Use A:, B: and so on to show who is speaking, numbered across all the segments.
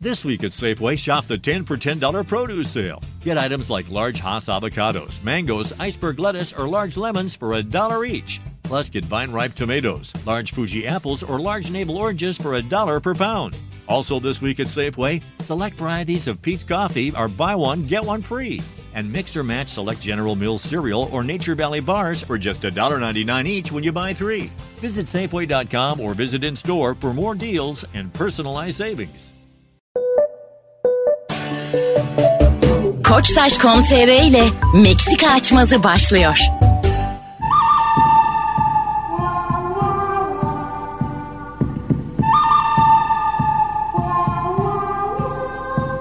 A: This week at Safeway, shop the 10 for $10 produce sale. Get items like large Haas avocados, mangoes, iceberg lettuce, or large lemons for a dollar each. Plus, get vine ripe tomatoes, large Fuji apples, or large navel oranges for a dollar per pound. Also, this week at Safeway, select varieties of Pete's Coffee are buy one, get one free. And mix or match select General Mills cereal or Nature Valley bars for just $1.99 each when you buy three. Visit Safeway.com or visit in store for more deals and personalized savings.
B: Koçtaş.com.tr ile Meksika açmazı başlıyor.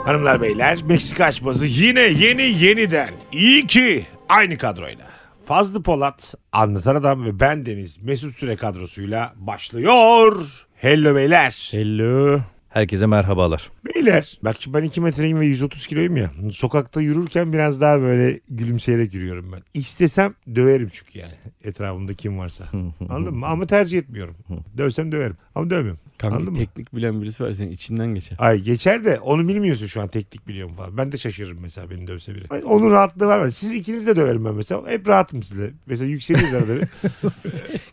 C: Hanımlar beyler Meksika açması yine yeni yeniden. İyi ki aynı kadroyla. Fazlı Polat, Anlatan Adam ve ben Deniz Mesut Süre kadrosuyla başlıyor. Hello beyler.
D: Hello. Herkese merhabalar.
C: Beyler. Bak şimdi ben 2 metreyim ve 130 kiloyum ya. Sokakta yürürken biraz daha böyle gülümseyerek yürüyorum ben. İstesem döverim çünkü yani. Etrafımda kim varsa. Anladın mı? Ama tercih etmiyorum. Dövsem döverim. Ama dövmüyorum.
E: Kanka
C: Anladın mı?
E: teknik bilen birisi var senin içinden geçer.
C: Ay geçer de onu bilmiyorsun şu an teknik biliyorum falan. Ben de şaşırırım mesela beni dövse biri. Ay, Onun rahatlığı var. mı? Siz ikiniz de döverim ben mesela. Hep rahatım sizle. Mesela yükseliyoruz arada. bir.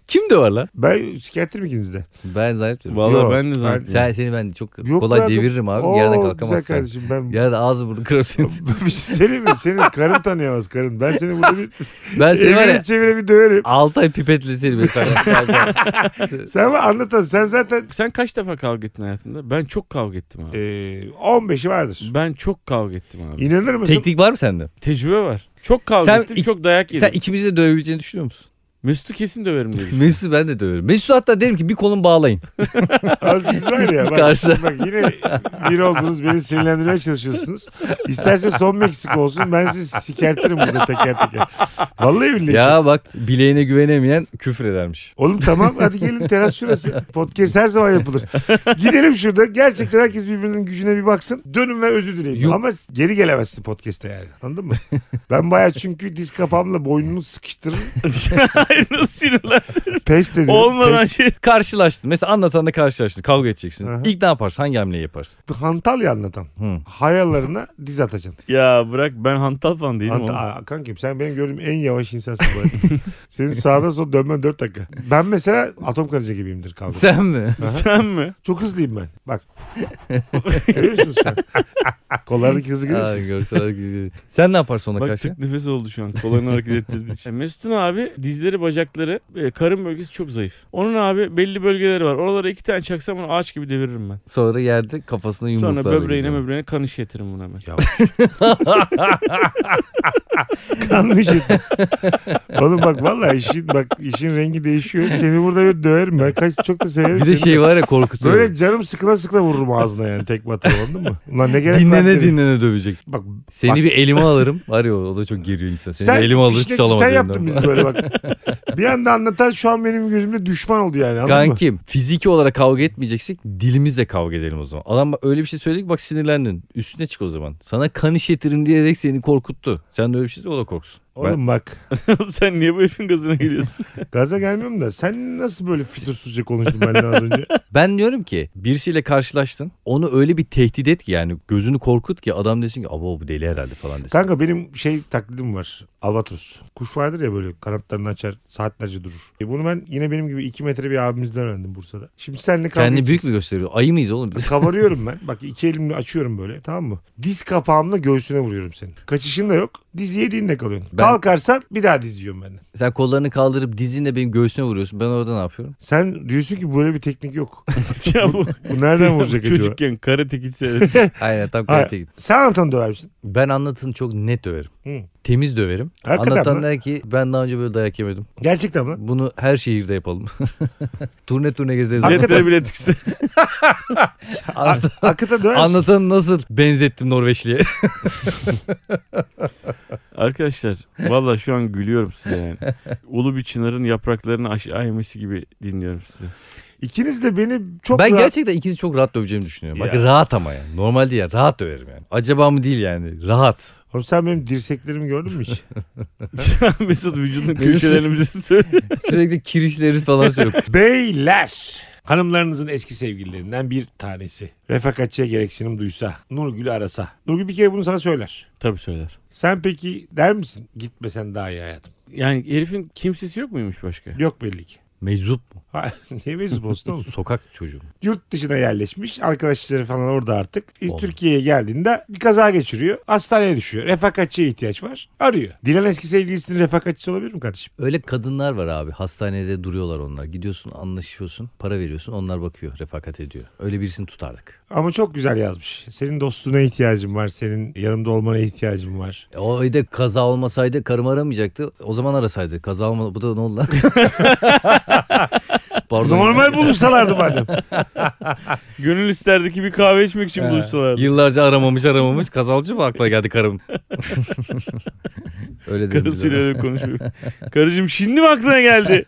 D: Kim de var lan?
C: Ben sikertirim ikiniz de.
F: Ben zannetmiyorum.
E: Vallahi
C: Yok,
E: ben de
C: ben-
E: zaten.
F: Sen seni ben çok
C: Yok
F: kolay
C: be abi.
F: deviririm abi.
C: Oo,
F: Yerden
C: Güzel
F: kalkamazsın.
C: kardeşim ben.
F: Yerden ağzı burnu kırarım seni.
C: bir şey söyleyeyim mi? Senin karın tanıyamaz karın. Ben seni burada bir
F: Ben seni var ya
C: evine çevire bir döverim.
F: 6 ay pipetle seni mesela.
C: Sen bana anlatan sen zaten
E: Sen kaç defa kavga ettin hayatında? Ben çok kavga ettim abi.
C: e, 15'i vardır.
E: Ben çok kavga ettim abi.
C: İnanır mısın?
F: Teknik var mı sende?
E: Tecrübe var. Çok kavga
F: Sen
E: ettim,
F: ik-
E: çok dayak yedim.
F: Sen ikimizi de dövebileceğini düşünüyor musun?
E: Mesut'u kesin döverim dedim.
F: Mesut'u ben de döverim. Mesut'u hatta derim ki bir kolun bağlayın.
C: Abi siz var ya bak,
F: Karşı.
C: bak yine bir oldunuz beni sinirlendirmeye çalışıyorsunuz. İsterse son Meksika olsun ben sizi sikertirim burada teker teker. Vallahi billahi.
F: ya bak bileğine güvenemeyen küfür edermiş.
C: Oğlum tamam hadi gelin teras şurası. Podcast her zaman yapılır. Gidelim şurada. Gerçekten herkes birbirinin gücüne bir baksın. Dönün ve özür dileyin.
F: Yok.
C: Ama geri gelemezsin podcast'te yani. Anladın mı? Ben baya çünkü diz kapağımla boynunu sıkıştırırım.
E: Hayır nasıl sinirler?
C: Pes dedim.
E: Olmadan şey.
F: Karşılaştın. Mesela anlatanla karşılaştın. Kavga edeceksin.
C: Aha.
F: İlk ne yaparsın? Hangi hamleyi yaparsın?
C: Hantal ya anlatan.
F: Hı.
C: Hayalarına diz atacaksın.
E: Ya bırak ben hantal falan değilim
C: Anta,
E: oğlum.
C: Aa, kankim sen benim gördüğüm en yavaş insansın bu arada. Senin sağdan sola dönmen 4 dakika. Ben mesela atom karınca gibiyimdir kavga.
F: Sen mi?
E: Sen mi?
C: Çok hızlıyım ben. Bak. Görüyor musunuz şu an? Kollardaki hızı görüyor
F: Aa,
C: musunuz?
F: görsel- Sen ne yaparsın ona
E: Bak
F: karşı?
E: tık nefes oldu şu an. Kollarını hareket ettirdiği için. E, Mesut'un abi dizleri, bacakları, e, karın bölgesi çok zayıf. Onun abi belli bölgeleri var. Oralara iki tane çaksam onu ağaç gibi deviririm ben.
F: Sonra yerde kafasına
E: Sonra
F: yumruklar.
E: böbreğine
F: vereceğim.
E: möbreğine kan işletirim buna ben.
C: Kanlı işitmiş. Oğlum bak vallahi işin bak işin rengi değişiyor. Seni burada bir döverim ben. Kaç çok da severim.
F: Bir de
C: seni.
F: şey var ya korkutuyor.
C: Böyle canım sıkıla sıkıla vururum ağzına yani tek batıyor anladın mı? Ulan ne gerek var
F: dinlene
C: derim.
F: dinlene dövecek.
C: Bak
F: Seni
C: Bak.
F: bir elime alırım. Var ya o o da çok geriyor insan. Seni
C: sen,
F: bir elime alır
C: fişnek-
F: çalamaz.
C: sen
F: elimden.
C: yaptın bizi böyle bak. Bir anda anlatan şu an benim gözümde düşman oldu yani anladın mı?
F: Kankim fiziki olarak kavga etmeyeceksek dilimizle kavga edelim o zaman. Adam bak öyle bir şey söyledi ki bak sinirlendin. Üstüne çık o zaman. Sana kan işletirim diyerek seni korkuttu. Sen de öyle bir şey de o da korksun.
C: Oğlum bak
E: Oğlum sen niye bu herifin gazına geliyorsun?
C: gaza gelmiyorum da sen nasıl böyle fütursuzca konuştun benden az önce?
F: Ben diyorum ki birisiyle karşılaştın. Onu öyle bir tehdit et ki yani gözünü korkut ki adam desin ki abo bu deli herhalde falan desin.
C: Kanka benim şey taklidim var. Albatros. Kuş vardır ya böyle kanatlarını açar saatlerce durur. E bunu ben yine benim gibi 2 metre bir abimizden öğrendim Bursa'da. Şimdi senle kavga
F: Kendini büyük
C: edeceğiz.
F: mü gösteriyor? Ayı mıyız oğlum biz?
C: Kabarıyorum ben. Bak iki elimle açıyorum böyle tamam mı? Diz kapağımla göğsüne vuruyorum senin. Kaçışın da yok. Diz yediğinde kalıyorsun.
F: Ben-
C: Kalkarsan bir daha diz yiyorum benden.
F: Sen kollarını kaldırıp dizinle benim göğsüne vuruyorsun. Ben orada ne yapıyorum?
C: Sen diyorsun ki böyle bir teknik yok.
E: ya bu
C: Bu nereden vuracak acaba?
E: çocukken karate kid seyredip
F: Aynen tam
C: Hayır.
F: karate git.
C: Sen anlatanı döver misin?
F: Ben anlatını çok net döverim.
C: Hı.
F: Temiz döverim.
C: Hakikaten mi?
F: Anlatan der ki ben daha önce böyle dayak yemedim.
C: Gerçekten mi?
F: Bunu her şehirde yapalım. turne turne gezeriz.
C: Hakikaten.
E: Zetlere bile tiksin.
F: Anlatan,
C: Akıta döver misin?
F: anlatanı nasıl benzettim Norveçli'ye?
E: Arkadaşlar valla şu an gülüyorum size yani. Ulu bir çınarın yapraklarını aşağı inmesi gibi dinliyorum sizi.
C: İkiniz de beni çok
F: ben
C: rahat...
F: gerçekten ikisi çok rahat döveceğimi düşünüyorum. Bak
C: Ya.
F: rahat ama yani. Normal değil ya. Rahat döverim yani. Acaba mı değil yani. Rahat.
C: Oğlum sen benim dirseklerimi gördün mü hiç?
E: Mesut vücudun köşelerini bize söyle.
F: Sürekli kirişleri falan söylüyor.
C: Beyler! Hanımlarınızın eski sevgililerinden bir tanesi. Refakatçiye gereksinim duysa. Nurgül'ü arasa. Nurgül bir kere bunu sana söyler.
E: Tabii söyler.
C: Sen peki der misin gitmesen daha iyi hayatım?
E: Yani herifin kimsesi yok muymuş başka?
C: Yok belli ki.
F: Meczup mu?
C: Ha, ne meclis olsun oğlum?
F: Sokak çocuğu mu?
C: Yurt dışına yerleşmiş. Arkadaşları falan orada artık. İlk Türkiye'ye geldiğinde bir kaza geçiriyor. Hastaneye düşüyor. Refakatçiye ihtiyaç var. Arıyor. Dilan eski sevgilisinin refakatçisi olabilir mi kardeşim?
F: Öyle kadınlar var abi. Hastanede duruyorlar onlar. Gidiyorsun anlaşıyorsun. Para veriyorsun. Onlar bakıyor. Refakat ediyor. Öyle birisini tutardık.
C: Ama çok güzel yazmış. Senin dostluğuna ihtiyacım var. Senin yanımda olmana ihtiyacım var.
F: E, o ayda kaza olmasaydı karım aramayacaktı. O zaman arasaydı. Kaza olma... Bu da ne oldu lan? Pardon.
C: Normal buluşsalardı madem.
E: Gönül isterdi ki bir kahve içmek için buluşsalar.
F: Yıllarca aramamış aramamış. Kazalcı mı akla geldi karım? Öyle dedim.
E: Karısıyla
F: bize.
E: öyle konuşuyor. Karıcığım şimdi mi aklına geldi?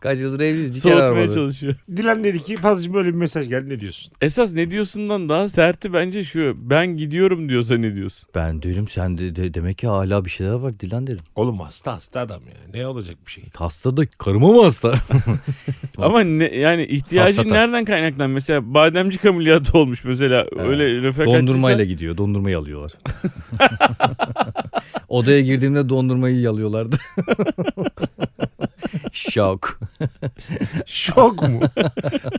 F: Kaç yıldır
E: şey
F: evliyiz. Bir kere
E: Soğutmaya
F: aramadı.
E: çalışıyor.
C: Dilan dedi ki fazlacığım böyle bir mesaj geldi ne diyorsun?
E: Esas ne diyorsundan daha serti bence şu. Ben gidiyorum diyorsa ne diyorsun?
F: Ben dedim sen de, de- demek ki hala bir şeyler var Dilan derim.
C: Oğlum hasta hasta adam ya. Ne olacak bir şey?
F: Hasta da karıma mı hasta?
E: Ama ne, yani ihtiyacın
F: Safsata.
E: nereden kaynaklan? Mesela bademcik ameliyatı olmuş mesela. Öyle refakatçiyse.
F: Dondurmayla gidiyor. Dondurmayı alıyorlar. Odaya girdiğimde dondurmayı yalıyorlardı. Şok.
C: Şok mu?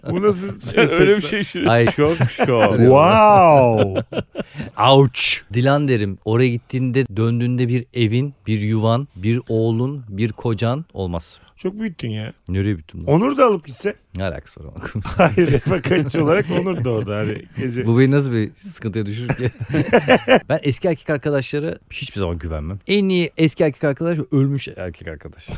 C: Bu nasıl?
E: Sen öyle bir şey şu.
F: Ay.
E: Şok şok.
C: Wow.
F: Ouch. Dilan derim. Oraya gittiğinde döndüğünde bir evin, bir yuvan, bir oğlun, bir kocan olmaz.
C: Çok büyüttün ya.
F: Nereye bittim lan?
C: Onur da alıp gitse.
F: Ne alakası var? oğlum?
C: Hayır refakatçi olarak Onur da orada. Hani gece.
F: Bu beni nasıl bir sıkıntıya düşürür ki? ben eski erkek arkadaşlara hiçbir zaman güvenmem. En iyi eski erkek arkadaş ölmüş erkek arkadaş.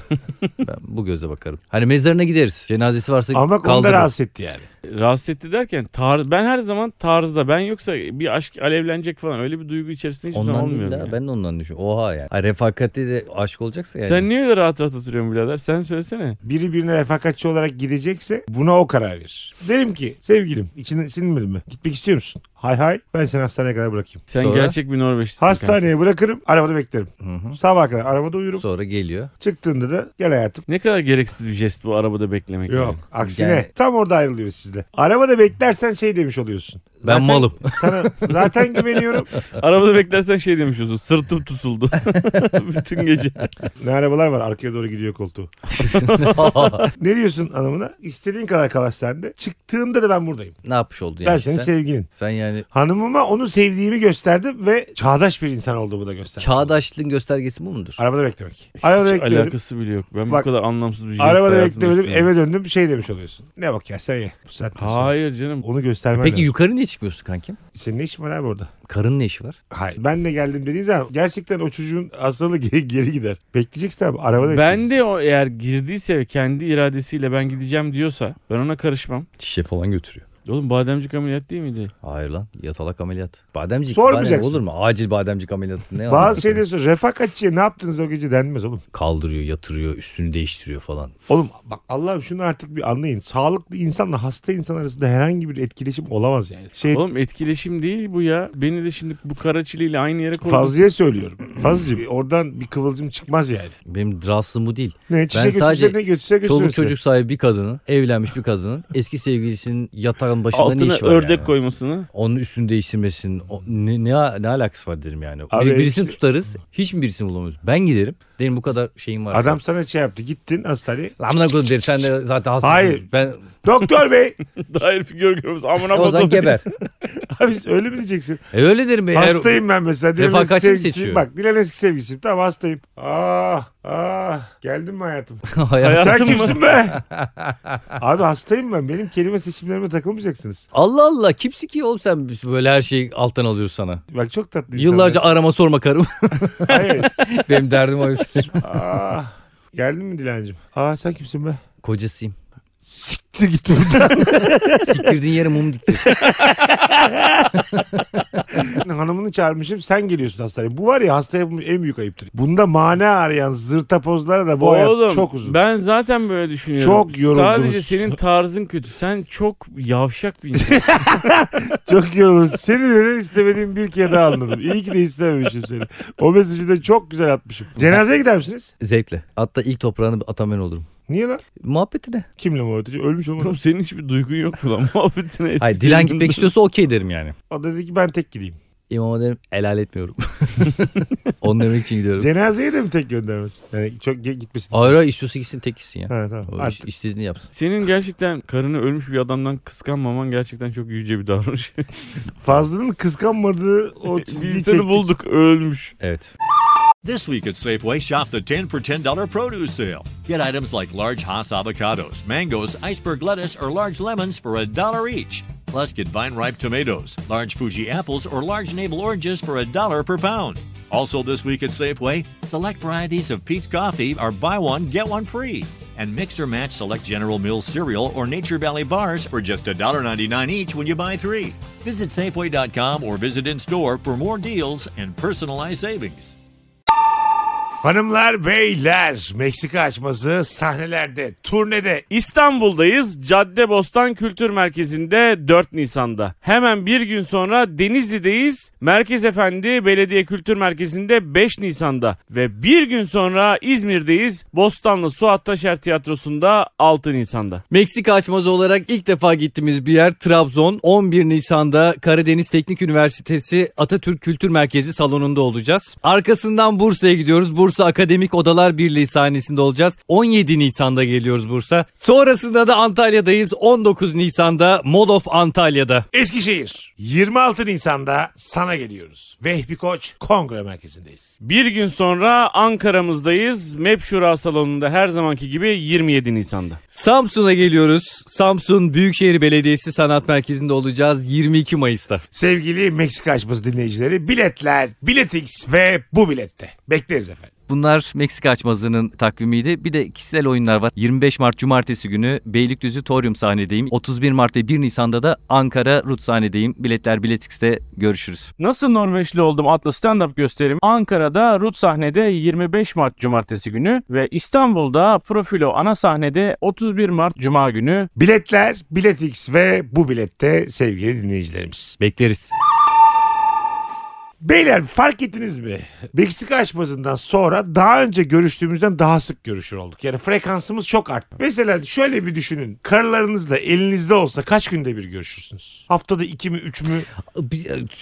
F: ben bu gözle bakarım. Hani mezarına gideriz. Cenazesi varsa
C: Ama bak onu da
F: kaldırırız.
C: rahatsız etti yani.
E: Rahatsız etti derken tarz, ben her zaman tarzda ben yoksa bir aşk alevlenecek falan öyle bir duygu içerisinde hiçbir zaman
F: Ondan değil
E: olmuyorum.
F: de
E: yani.
F: ben de ondan düşünüyorum. Oha yani. Ay, refakati de aşık olacaksa yani.
E: Sen niye öyle rahat rahat oturuyorsun birader? Sen söylesene.
C: Biri birine refakatçi olarak gidecekse buna o karar verir. Derim ki sevgilim içine sinmedin mi? Gitmek istiyor musun? Hay hay ben seni hastaneye kadar bırakayım.
E: Sen
F: Sonra?
E: gerçek bir Norveçlisin. kanka.
C: Hastaneye bırakırım arabada beklerim. Sabaha kadar arabada uyurum.
F: Sonra geliyor.
C: Çıktığında da gel hayatım.
E: Ne kadar gereksiz bir jest bu arabada beklemek.
C: Yok
E: yani.
C: aksine
F: Yani-
C: tam orada ayrılıyoruz sizde. Arabada beklersen şey demiş oluyorsun.
F: Ben malım.
C: Sana zaten güveniyorum.
E: Arabada beklersen şey demiş olsun. Sırtım tutuldu. Bütün gece.
C: Ne arabalar var arkaya doğru gidiyor koltuğu. ne diyorsun hanımına? İstediğin kadar kal hastanede. Çıktığında da ben buradayım.
F: ne yapmış oldun
C: ben
F: yani
C: senin
F: sen?
C: sevgilin.
F: sen yani
C: Hanımıma onu sevdiğimi gösterdim ve çağdaş bir insan olduğumu da gösterdim.
F: çağdaşlığın göstergesi bu mudur?
C: Arabada beklemek. Arabada
E: Hiç
C: beklemedim.
E: alakası bile yok. Ben
C: Bak,
E: bu kadar anlamsız bir jest
C: Arabada
E: hayatımda
C: beklemedim.
E: istemiyorum.
C: Eve döndüm. Şey demiş oluyorsun. Ne bak ya sen ye. Bu saatten sonra.
E: Hayır E canım.
C: Onu göstermen
F: Peki
C: lazım.
F: yukarı niye çıkmıyorsun kankim?
C: Senin ne işin var abi orada?
F: Karın ne işi var?
C: Hayır. Ben de geldim dediğin zaman gerçekten o çocuğun hastalığı geri, geri gider. Bekleyeceksin abi. Arabada
E: Ben
C: bekleyeceksin.
E: de o eğer girdiyse ve kendi iradesiyle ben gideceğim diyorsa ben ona karışmam.
F: Şişe falan götürüyor.
E: Oğlum bademcik ameliyat değil miydi?
F: Hayır lan yatalak ameliyat. Bademcik
C: Sormayacaksın.
F: badem olur mu? Acil bademcik ameliyatı ne anlamı?
C: bazı şeyleri sor. Refakatçiye ne yaptınız o gece denmez oğlum.
F: Kaldırıyor, yatırıyor, üstünü değiştiriyor falan.
C: Oğlum bak Allah'ım şunu artık bir anlayın. Sağlıklı insanla hasta insan arasında herhangi bir etkileşim olamaz yani. Şey
E: Oğlum etkileşim değil bu ya. Beni de şimdi bu kara çiliyle aynı yere koydun.
C: Fazlı'ya söylüyorum. Fazlıcığım oradan bir kıvılcım çıkmaz yani.
F: Benim rahatsızlığım bu değil.
C: Ne çişe
F: sadece
C: götürse ne götürse götürsün.
F: Çoluk çocuk sahibi bir kadının, evlenmiş bir kadının eski sevgilisinin yatağın başında ne
E: Altına
F: işi var
C: şey
E: ördek
F: yani?
E: koymasını.
F: Onun üstünü değiştirmesinin o- ne, ne, ne alakası var derim yani.
C: Hmm. Abi
F: Bir- birisini
C: işte-
F: tutarız, hiç mi birisini bulamıyoruz? Ben giderim. Derim bu kadar şeyim var.
C: Adam sana şey yaptı gittin hastaneye.
F: Amına koyayım derim sen de zaten hastasın.
C: Hayır.
F: Ben
C: Doktor bey.
E: Daha herifi gör görmez. Amına
F: o zaman
E: kodum.
F: geber.
C: Abi öyle mi diyeceksin?
F: E öyle derim. Eğer-
C: Hastayım ben mesela. Dilan eski
F: Refakatçi mi
C: sevgilisiyim.
F: seçiyor?
C: Bak Dilan eski sevgilisiyim. Tamam hastayım. Ah ah. Geldin mi hayatım?
F: Hayat-
C: Sen
E: Hayatım mı?
C: kimsin be? Abi hastayım ben. Benim kelime seçimlerime takılmayacaksınız.
F: Allah Allah kimsi ki oğlum sen böyle her şeyi alttan alıyorsun sana.
C: Bak çok tatlı
F: Yıllarca
C: insanlar.
F: arama sorma karım.
C: Hayır.
F: Benim derdim o.
C: Ah. Geldin mi Dilancım? Aa sen kimsin be?
F: Kocasıyım.
C: Siktir git buradan.
F: Siktirdiğin yere mum diktir.
C: Hanımını çağırmışım sen geliyorsun hastaneye. Bu var ya hastaya en büyük ayıptır. Bunda mana arayan zırtapozlara da bu
E: Oğlum
C: hayat çok uzun.
E: ben zaten böyle düşünüyorum.
C: Çok yoruldunuz.
E: Sadece senin tarzın kötü. Sen çok yavşak bir insan.
C: Çok iyi olur. Seni neden istemediğimi bir kere daha anladım. İyi ki de istememişim seni. O mesajı da çok güzel atmışım. Cenazeye gider misiniz?
F: Zevkle. Hatta ilk toprağını atan ben olurum.
C: Niye lan?
F: Muhabbetine.
C: Kimle muhabbet ediyor? Ölmüş olmalı.
E: Oğlum senin hiçbir duygun yok mu lan muhabbetine? eski
F: Hayır Dilan gitmek
E: sevgilinden-
F: istiyorsa okey derim yani.
C: O da dedi ki ben tek gideyim.
F: İmama derim helal etmiyorum. Onu demek için gidiyorum.
C: Cenazeye de mi tek göndermez? Yani çok ge- gitmesin.
F: Hayır hayır, istiyorsa gitsin tek gitsin ya.
C: Ha, tamam.
F: O iş-
C: Artık
F: istediğini yapsın.
E: Senin gerçekten karını ölmüş bir adamdan kıskanmaman gerçekten çok yüce bir davranış.
C: Fazlının kıskanmadığı o çizgiyi
E: Seni
C: çektik.
E: bulduk ölmüş.
F: Evet.
A: This week at Safeway, shop the 10 for $10 produce sale. Get items like large Hass avocados, mangoes, iceberg lettuce, or large lemons for a dollar each. Plus, get vine ripe tomatoes, large Fuji apples, or large navel oranges for a dollar per pound. Also, this week at Safeway, select varieties of Pete's Coffee are buy one, get one free. And mix or match select General Mills cereal or Nature Valley bars for just $1.99 each when you buy three. Visit Safeway.com or visit in store for more deals and personalized savings.
C: Hanımlar beyler Meksika açması sahnelerde turnede
E: İstanbul'dayız. Caddebostan Kültür Merkezi'nde 4 Nisan'da. Hemen bir gün sonra Denizli'deyiz. Merkez Efendi Belediye Kültür Merkezi'nde 5 Nisan'da. Ve bir gün sonra İzmir'deyiz. Bostanlı Suat Taşer Tiyatrosu'nda 6 Nisan'da.
F: Meksika açmazı olarak ilk defa gittiğimiz bir yer Trabzon. 11 Nisan'da Karadeniz Teknik Üniversitesi Atatürk Kültür Merkezi salonunda olacağız. Arkasından Bursa'ya gidiyoruz. Bursa Akademik Odalar Birliği sahnesinde olacağız. 17 Nisan'da geliyoruz Bursa. Sonrasında da Antalya'dayız. 19 Nisan'da Mall of Antalya'da.
C: Eskişehir 26 Nisan'da sana geliyoruz. Vehbi Koç Kongre Merkezi'ndeyiz.
E: Bir gün sonra Ankara'mızdayız. MEP Şura Salonu'nda her zamanki gibi 27 Nisan'da.
F: Samsun'a geliyoruz. Samsun Büyükşehir Belediyesi Sanat Merkezi'nde olacağız 22 Mayıs'ta.
C: Sevgili Meksika açması dinleyicileri biletler, biletix ve bu bilette. Bekleriz efendim.
F: Bunlar Meksika açmazının takvimiydi. Bir de kişisel oyunlar var. 25 Mart Cumartesi günü Beylikdüzü Torium sahnedeyim. 31 Mart ve 1 Nisan'da da Ankara Rut sahnedeyim. Biletler Biletix'te görüşürüz.
G: Nasıl Norveçli Oldum adlı stand-up gösterim Ankara'da Rut sahnede 25 Mart Cumartesi günü ve İstanbul'da Profilo ana sahnede 31 Mart Cuma günü.
C: Biletler, biletix ve bu bilette sevgili dinleyicilerimiz.
F: Bekleriz.
C: Beyler fark ettiniz mi? Meksika açmasından sonra daha önce görüştüğümüzden daha sık görüşür olduk. Yani frekansımız çok arttı. Mesela şöyle bir düşünün. Karılarınızla elinizde olsa kaç günde bir görüşürsünüz? Haftada iki mi, üç mü?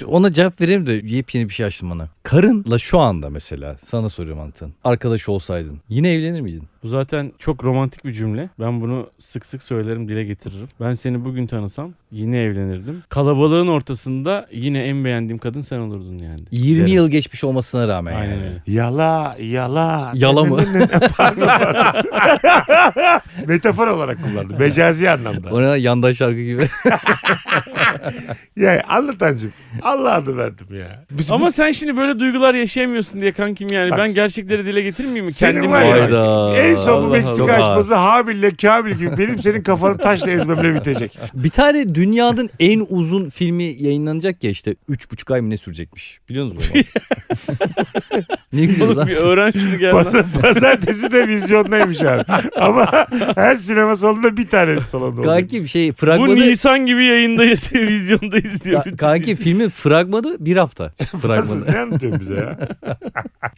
F: Ona cevap vereyim de yepyeni bir şey açtım bana. Karınla şu anda mesela sana soruyorum Antan. Arkadaş olsaydın yine evlenir miydin?
E: Bu zaten çok romantik bir cümle. Ben bunu sık sık söylerim, dile getiririm. Ben seni bugün tanısam yine evlenirdim. Kalabalığın ortasında yine en beğendiğim kadın sen olurdun yani.
F: 20
E: Derim.
F: yıl geçmiş olmasına rağmen. yani.
E: Aynen öyle.
C: Yala, yala.
F: Yala mı?
C: Metafor olarak kullandı. Mecazi anlamda.
F: Ona yandaş şarkı gibi.
C: Ya anlatancım. Allah adı verdim ya. Biz
E: Ama sen şimdi böyle duygular yaşayamıyorsun diye kankim yani.
C: Bak-
E: ben gerçekleri dile getirmeyeyim mi?
C: Senin
E: Kendim
C: var ya-
E: var
F: Hayda.
C: en son bu
F: Allah
C: Meksika
F: Allah.
C: açması Habil'le Kabil gibi benim senin kafanı taşla ezmemle bitecek.
F: Bir tane dünyanın en uzun filmi yayınlanacak ya işte 3,5 ay mı ne sürecekmiş. Biliyor musunuz bunu? ne gülüyoruz
E: Oğlum bir
F: lan?
E: öğren şunu gel lan.
C: Pazar, pazartesi de vizyondaymış abi. Ama her sinema salonunda bir tane salonda oluyor.
F: Kanki bir şey
E: Bu
F: fragmanı...
E: Nisan gibi yayındayız, televizyondayız diyor.
F: Ka- Kanki filmin fragmanı bir hafta.
C: Nasıl?
F: Fragmanı.
C: Ne anlatıyorsun bize ya?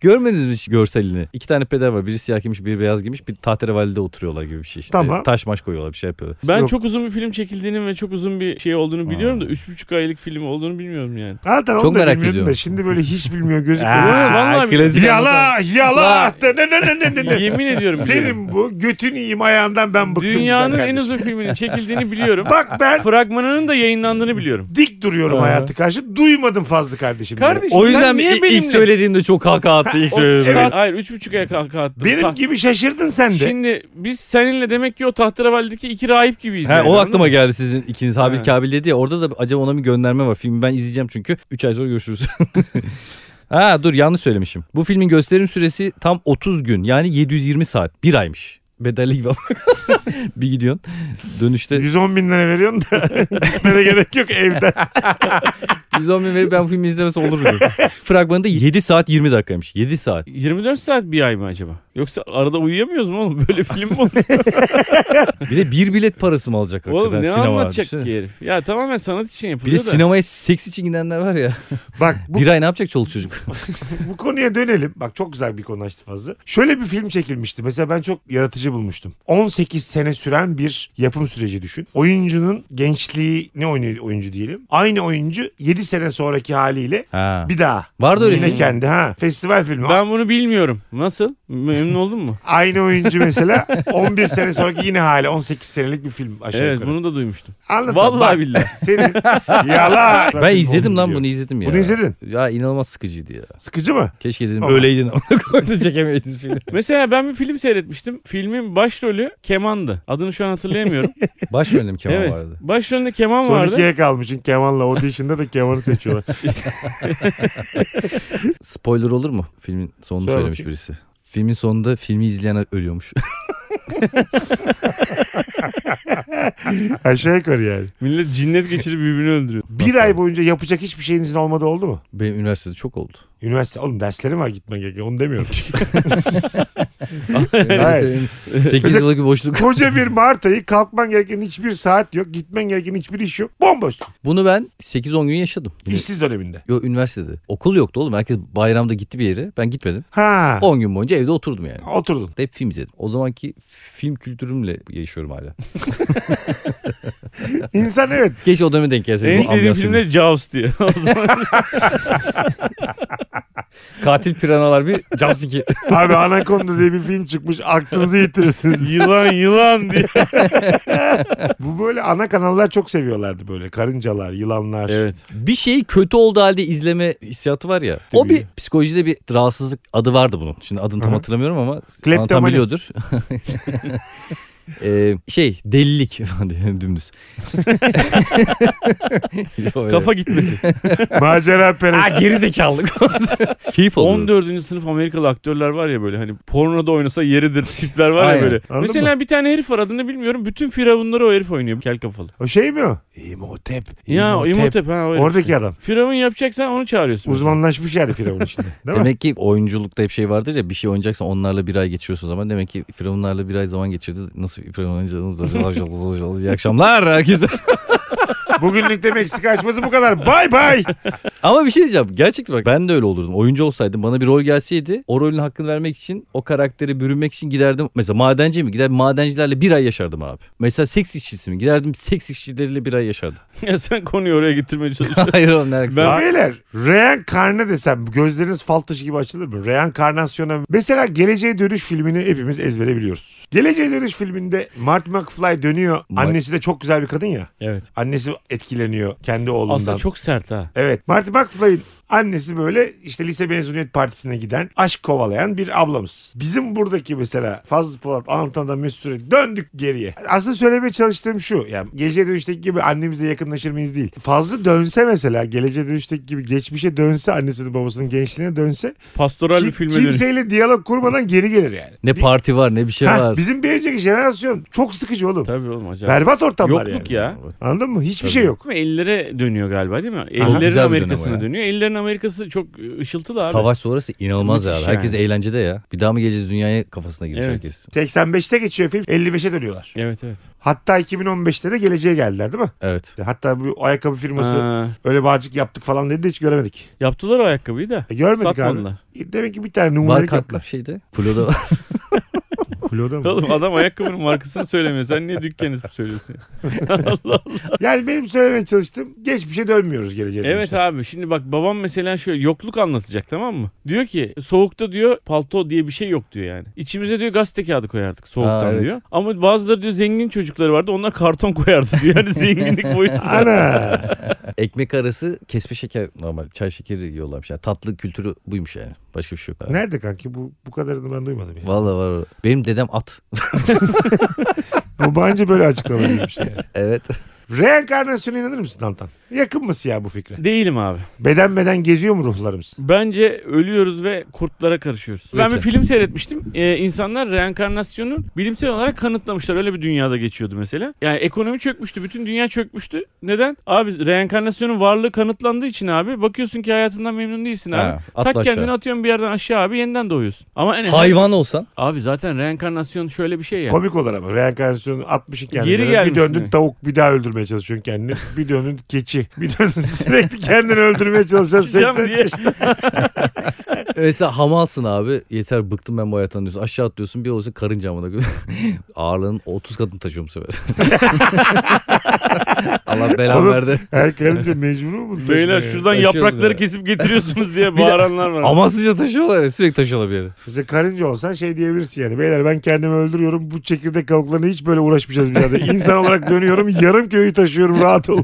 F: Görmediniz mi hiç görselini? İki tane peder var. Biri siyah giymiş, biri beyaz giymiş. Bir tahterevalide oturuyorlar gibi bir şey işte.
C: Tamam.
F: Taş maş koyuyorlar bir şey yapıyorlar.
E: Ben
C: Yok.
E: çok uzun bir film çekildiğini ve çok uzun bir şey olduğunu biliyorum da 3,5 aylık film olduğunu bilmiyorum yani.
C: Zaten onu
F: Çok
C: da
F: merak
C: bilmiyordum
F: ediyorum. Ah,
C: Da, şimdi böyle hiç bilmiyor gözükmüyor.
E: Vallahi
F: klasik.
C: yala yala. ah, Ne ne ne ne ne ne.
E: Yemin ediyorum. biliyorum.
C: Senin bu götün yiyeyim ayağından ben bıktım.
E: Dünyanın
C: güzel
E: en
C: kardeşim.
E: uzun filminin çekildiğini biliyorum.
C: Bak ben
E: Fragmanının da yayınlandığını biliyorum.
C: dik duruyorum hayatı karşı. Duymadım fazla kardeşim. diyor.
E: Kardeşim
F: O
E: sen
F: yüzden
E: niye
F: i-
E: benimle?
F: ilk söylediğimde çok kaka attı ilk
E: O-
F: söylediğimde.
E: Ka- Hayır üç buçuk aya kalka attım.
C: Benim
E: Ta-
C: gibi şaşırdın sen de.
E: Şimdi biz seninle demek ki o Tahterevali'deki iki rahip gibiyiz.
F: He,
E: yani,
F: o
E: anladın
F: aklıma
E: mı?
F: geldi sizin ikiniz Habil
E: He.
F: Kabil dedi ya orada da acaba ona bir gönderme var. Filmi ben izleyeceğim çünkü 3 ay sonra görüşürüz. ha dur yanlış söylemişim. Bu filmin gösterim süresi tam 30 gün yani 720 saat 1 aymış. Bedelli gibi ama. bir gidiyorsun dönüşte
C: 110 bin lira veriyorsun da gitmene gerek yok evden.
F: 110 bin verip ben bu filmi izlemesi olur mu? diyorum. Fragmanı da 7 saat 20 dakikaymış 7 saat.
E: 24 saat bir ay mı acaba? Yoksa arada uyuyamıyoruz mu oğlum? Böyle film mi olur?
F: Bir de bir bilet parası mı alacak hakikaten
E: oğlum ne
F: sinema?
E: anlatacak
F: Düşünsene.
E: ki herif? Ya tamamen sanat için
F: Bir de
E: yapılıyor da.
F: sinemaya seks için gidenler var ya.
C: Bak bu,
F: Bir ay ne yapacak çoluk çocuk?
C: bu konuya dönelim. Bak çok güzel bir konu açtı fazla. Şöyle bir film çekilmişti. Mesela ben çok yaratıcı bulmuştum. 18 sene süren bir yapım süreci düşün. Oyuncunun gençliği ne oynuyor oyuncu diyelim. Aynı oyuncu 7 sene sonraki haliyle
F: Ha.
C: bir daha.
F: Vardı öyle
C: Yine
F: film.
C: kendi ha. Festival filmi.
E: Ben bunu bilmiyorum. Nasıl? Memnun oldun mu?
C: Aynı oyuncu mesela 11 sene sonraki yine hali 18 senelik bir film aşağı
E: evet
C: yukarı.
E: bunu da duymuştum.
C: Anladım.
E: Vallahi
C: Bak,
E: billahi.
C: Senin yalan.
F: Ben izledim lan
C: Diyor.
F: bunu izledim ya.
C: Bunu izledin.
F: Ya inanılmaz sıkıcıydı ya.
C: Sıkıcı mı?
F: Keşke dedim
C: Ama-
F: öyleydin ama çekemeydiniz filmi.
E: Mesela ben bir film seyretmiştim. Filmin başrolü kemandı. Adını şu an hatırlayamıyorum.
F: Baş önüm Kemal
E: evet.
F: vardı.
E: Başrolünde keman
C: Son
E: vardı.
C: ikiye kalmışsın Kemal'la. Audition'da da Kemal'i seçiyorlar.
F: Spoiler olur mu? Filmin sonunu
C: Söyle
F: söylemiş
C: bakayım.
F: birisi. Filmin sonunda filmi izleyen ölüyormuş.
C: aşağı yukarı yani.
E: Millet cinnet geçirip birbirini öldürüyor.
C: Bir ay boyunca yapacak hiçbir şeyinizin olmadı oldu mu?
F: Benim üniversitede çok oldu.
C: Üniversite oğlum derslerim var gitmen gerekiyor onu demiyorum.
F: Hayır. 8
C: Mesela-
F: yıllık bir boşluk.
C: Koca bir Mart ayı kalkman gereken hiçbir saat yok. Gitmen gereken hiçbir iş yok. Bomboşsun.
F: Bunu ben 8-10 gün yaşadım. Yine-
C: İşsiz döneminde.
F: Yo üniversitede. Okul yoktu oğlum. Herkes bayramda gitti bir yere. Ben gitmedim.
C: Ha.
F: 10 gün boyunca evde oturdum yani.
C: Oturdun.
F: Hep film izledim. O zamanki film kültürümle yaşıyorum hala.
C: İnsan evet.
F: Geç o döneme denk gelseydim.
E: En
F: bu
E: sevdiğim
F: ambiyansı
E: film de Jaws diyor.
F: bilmiyorum. Katil piranalar bir Capsiki.
C: Abi Anaconda diye bir film çıkmış. Aklınızı yitirirsiniz.
E: yılan yılan diye.
C: Bu böyle ana kanallar çok seviyorlardı böyle. Karıncalar, yılanlar.
F: bir şeyi kötü olduğu halde izleme hissiyatı var ya. O bir psikolojide bir rahatsızlık adı vardı bunun. Şimdi adını tam
C: Hı hı.
F: hatırlamıyorum ama
C: Kleptomani.
F: anlatan biliyordur. Ee, şey delilik falan diye dümdüz.
E: Kafa gitmesi.
C: Macera perest.
F: geri zekalık. Keyif alıyorum.
E: 14. sınıf Amerikalı aktörler var ya böyle hani pornoda oynasa yeridir tipler var ya
F: Aynen.
E: böyle.
C: Anladın
E: Mesela bir tane herif var adını bilmiyorum. Bütün firavunları o herif oynuyor. Kel kafalı.
C: O şey mi o? İmhotep.
E: Ya İmhotep ha o herif.
C: Oradaki adam.
E: Firavun yapacaksan onu çağırıyorsun.
C: Uzmanlaşmış yani Firavun içinde. Değil mi?
F: Demek ki oyunculukta hep şey vardır ya bir şey oynayacaksan onlarla bir ay geçiyorsun o zaman. Demek ki Firavunlarla bir ay zaman geçirdi. Nasıl Firavun oynayacağını İyi akşamlar herkese.
C: Bugünlük de Meksika açması bu kadar. Bay bay.
F: Ama bir şey diyeceğim. Gerçekten bak ben de öyle olurdum. Oyuncu olsaydım bana bir rol gelseydi o rolün hakkını vermek için o karakteri bürünmek için giderdim. Mesela madenci mi? Gider madencilerle bir ay yaşardım abi. Mesela seks işçisi mi? Giderdim seks işçileriyle bir ay yaşardım.
E: Ya sen konuyu oraya getirmeye çalışıyorsun.
F: Hayır oğlum ne alakası var?
C: Ben... Beyler reenkarne desem gözleriniz fal taşı gibi açılır mı? Reenkarnasyona mesela Geleceğe Dönüş filmini hepimiz ezbere biliyoruz. Geleceğe Dönüş filminde Mart McFly dönüyor. Annesi de çok güzel bir kadın ya.
E: evet.
C: Annesi etkileniyor kendi oğlundan.
E: Aslında çok sert ha.
C: Evet. Marty McFly'in annesi böyle işte lise mezuniyet partisine giden, aşk kovalayan bir ablamız. Bizim buradaki mesela Fazlı Polat, Anlatan da Mesut Süre döndük geriye. Aslında söylemeye çalıştığım şu. Yani geleceğe dönüşteki gibi annemize yakınlaşır mıyız değil. Fazlı dönse mesela geleceğe dönüşteki gibi geçmişe dönse annesinin babasının gençliğine dönse
E: Pastoral bir
C: kim-
E: filme dönüş.
C: kimseyle diyalog kurmadan geri gelir yani.
F: Ne parti var ne bir şey
C: Ha,
F: var.
C: bizim bir önceki jenerasyon çok sıkıcı oğlum.
E: Tabii oğlum acayip.
C: Berbat ortamlar
E: Yokluk
C: yani.
E: ya.
C: Anladın mı? Hiçbir şey yok.
E: Ama ellere dönüyor galiba değil mi?
F: Güzel bir
E: Ellerin
F: dönem o
E: Amerikasına
F: ya.
E: dönüyor. Ellerin Amerikası çok e, ışıltılı abi.
F: Savaş sonrası inanılmaz ya.
E: Müthiş
F: Herkes
E: yani.
F: eğlencede ya. Bir daha mı geleceğiz dünyaya kafasına girmiş
E: Evet.
F: herkes.
C: 85'te geçiyor film 55'e dönüyorlar.
E: Evet evet.
C: Hatta 2015'te de geleceğe geldiler değil mi?
F: Evet.
C: Hatta bu ayakkabı firması
E: Aa,
C: öyle bağcık yaptık falan dedi de hiç göremedik.
E: yaptılar o ayakkabıyı da.
C: E, görmedik
E: Satmadılar.
C: abi. E, Demek ki bir tane numara
F: Var katlı
C: katla.
F: bir şeydi. Flo'da
C: Kloda mı?
E: Oğlum adam ayakkabının markasını söylemiyor. Sen niye dükkanı söylüyorsun?
C: yani benim söylemeye çalıştığım geçmişe dönmüyoruz geleceğe.
E: evet
C: dönüşte.
E: abi şimdi bak babam mesela şöyle yokluk anlatacak tamam mı? Diyor ki soğukta diyor palto diye bir şey yok diyor yani. İçimize diyor gazete kağıdı koyardık soğuktan
F: Aa, evet.
E: diyor. Ama bazıları diyor zengin çocukları vardı onlar karton koyardı diyor. Yani zenginlik boyutu.
C: Ana.
F: ekmek arası kesme şeker normal çay şekeri yiyorlarmış. Yani tatlı kültürü buymuş yani. Başka bir şey yok. abi.
C: Nerede kanki bu bu kadarını ben duymadım. Ya.
F: Vallahi var. Benim dedem at.
C: Bu bence böyle açıklama gibi bir şey. yani.
F: evet.
C: Reenkarnasyona inanır mısın Antan? Yakın mısın ya bu fikre?
E: Değilim abi.
C: Beden beden geziyor mu ruhlarımız?
E: Bence ölüyoruz ve kurtlara karışıyoruz. Ben bir
D: Mesela.
E: film seyretmiştim. Ee, insanlar reenkarnasyonu bilimsel olarak kanıtlamışlar. Öyle bir dünyada geçiyordu mesela. Yani ekonomi çökmüştü. Bütün dünya çökmüştü. Neden? Abi reenkarnasyonun varlığı kanıtlandığı için abi. Bakıyorsun ki hayatından memnun değilsin abi.
D: Ha, atla
E: tak
D: aşağı.
E: kendini atıyorsun bir yerden aşağı abi. Yeniden doğuyorsun. Ama en
D: Hayvan olsan.
E: Abi zaten reenkarnasyon şöyle bir şey ya.
C: Komik olur ama reenkarnasyonu 60'ı kendine.
E: Geri
C: bir
E: gelmişsin
C: döndün
E: yani.
C: tavuk bir daha öldürmeye çalışıyorsun kendini. Bir döndün keçi. Bir döndün sürekli kendini öldürmeye çalışıyorsun.
E: Çıkacağım
C: 80
E: diye.
C: yaşında.
F: Mesela hamalsın abi. Yeter bıktım ben bu hayattan diyorsun. Aşağı atlıyorsun bir olursa karınca amına koyayım. Ağırlığın 30 katını taşıyorum bu sefer. Allah belamı
C: Oğlum,
F: verdi.
C: Her karınca mecbur mu? bunu taşımaya?
E: Beyler şuradan
F: Taşıyorum
E: yaprakları
F: ya.
E: kesip getiriyorsunuz diye bağıranlar var.
F: Amansızca taşıyorlar ya, sürekli taşıyorlar bir yere.
C: Mesela karınca olsan şey diyebilirsin yani. Beyler ben kendimi öldürüyorum. Bu çekirdek kavuklarına hiç böyle uğraşmayacağız bir yerde. İnsan olarak dönüyorum. Yarım köyü taşıyorum rahat ol.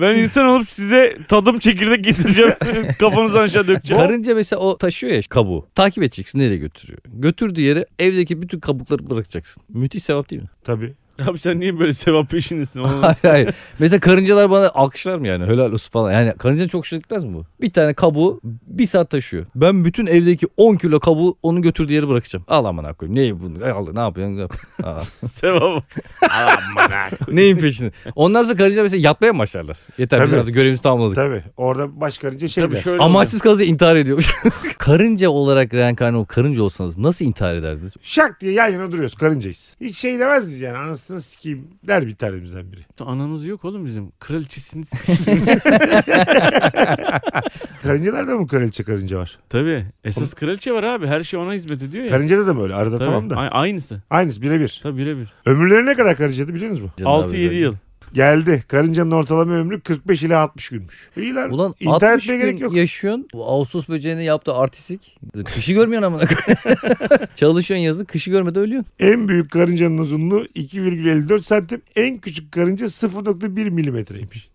E: Ben insan olup size tadım çekirdek getireceğim. Kafanızdan aşağı dökeceğim.
F: Karınca mesela o taşıyor ya kabuğu. Takip edeceksin nereye götürüyor. Götürdüğü yere evdeki bütün kabukları bırakacaksın. Müthiş sevap değil mi?
C: Tabii.
E: Abi sen niye böyle sevap peşindesin? oğlum?
F: hayır hayır. Mesela karıncalar bana alkışlar mı yani? Helal olsun falan. Yani karıncanın çok hoşuna gitmez mi bu? Bir tane kabuğu bir saat taşıyor. Ben bütün evdeki 10 kilo kabuğu onun götürdüğü yere bırakacağım. Al amına koyayım. Neyi bunu? Ay Allah ne yapıyorsun? Ne yapıyorsun? Aa.
E: sevap.
F: Neyin peşinde? Ondan sonra karınca mesela yatmaya mı başlarlar? Yeter biz
C: Tabii.
F: artık görevimizi tamamladık.
C: Tabii. Orada baş karınca şey
E: Tabii
C: der.
E: şöyle
F: Amaçsız kazı intihar ediyormuş. karınca olarak reenkarnı ol- karınca olsanız nasıl intihar ederdiniz?
C: Şak diye yan yana duruyoruz karıncayız. Hiç şey demez miyiz yani anasını sikeyim der bir tanemizden biri.
E: oluyor. Ananız yok oğlum bizim. Kraliçesiniz.
C: Karıncalarda da mı kraliçe karınca var?
E: Tabii. Esas kraliçe var abi. Her şey ona hizmet ediyor ya.
C: Karıncada da mı öyle arada
E: Tabii.
C: tamam da.
E: A- aynısı.
C: Aynısı birebir.
E: Tabii birebir.
C: Ömürleri ne kadar karıncada biliyor musunuz mu?
F: Canım abi,
E: 6-7 yıl.
C: Geldi. Karıncanın ortalama ömrü 45 ile 60 günmüş. İyi lan.
F: Ulan
C: İntihar
F: 60 gün
C: etmeye gerek yok.
F: yaşıyorsun. Bu Ağustos böceğini yaptığı artistik. Kışı görmüyorsun ama. Çalışıyorsun yazın kışı görmeden ölüyorsun.
C: En büyük karıncanın uzunluğu 2,54 santim. En küçük karınca 0,1 milimetreymiş.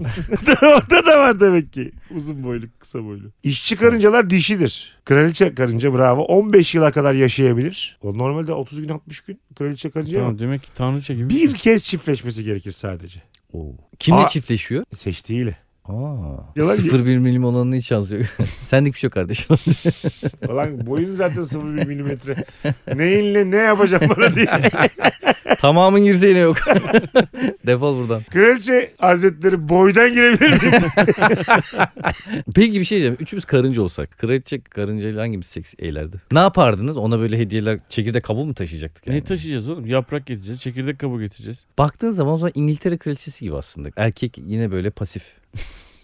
C: Orada da var demek ki. Uzun boylu, kısa boylu. İşçi karıncalar dişidir. Kraliçe karınca bravo. 15 yıla kadar yaşayabilir. O normalde 30 gün 60 gün kraliçe karınca
E: Tamam, demek ki tanrıça gibi.
C: Bir kez çiftleşmesi gerekir sadece.
F: Kimle
C: Aa.
F: çiftleşiyor?
C: Seçtiğiyle.
F: Aa.
C: Yalan-
F: 0-1 milim olanın hiç şansı yok. Sendik bir şey yok kardeşim.
C: Ulan boyun zaten 0,1 milimetre. Neyinle ne yapacağım bana diye.
F: Tamamın girse yine yok. Defol buradan.
C: Kraliçe Hazretleri boydan girebilir miyim?
F: Peki bir şey diyeceğim. Üçümüz karınca olsak. Kraliçe karıncayla hangimiz seks eğlerdi? Ne yapardınız? Ona böyle hediyeler çekirdek kabuğu mu taşıyacaktık yani?
E: şey. Ne taşıyacağız oğlum? Yaprak getireceğiz. Çekirdek kabuğu getireceğiz.
F: Baktığın zaman o zaman İngiltere kraliçesi gibi aslında. Erkek yine böyle pasif.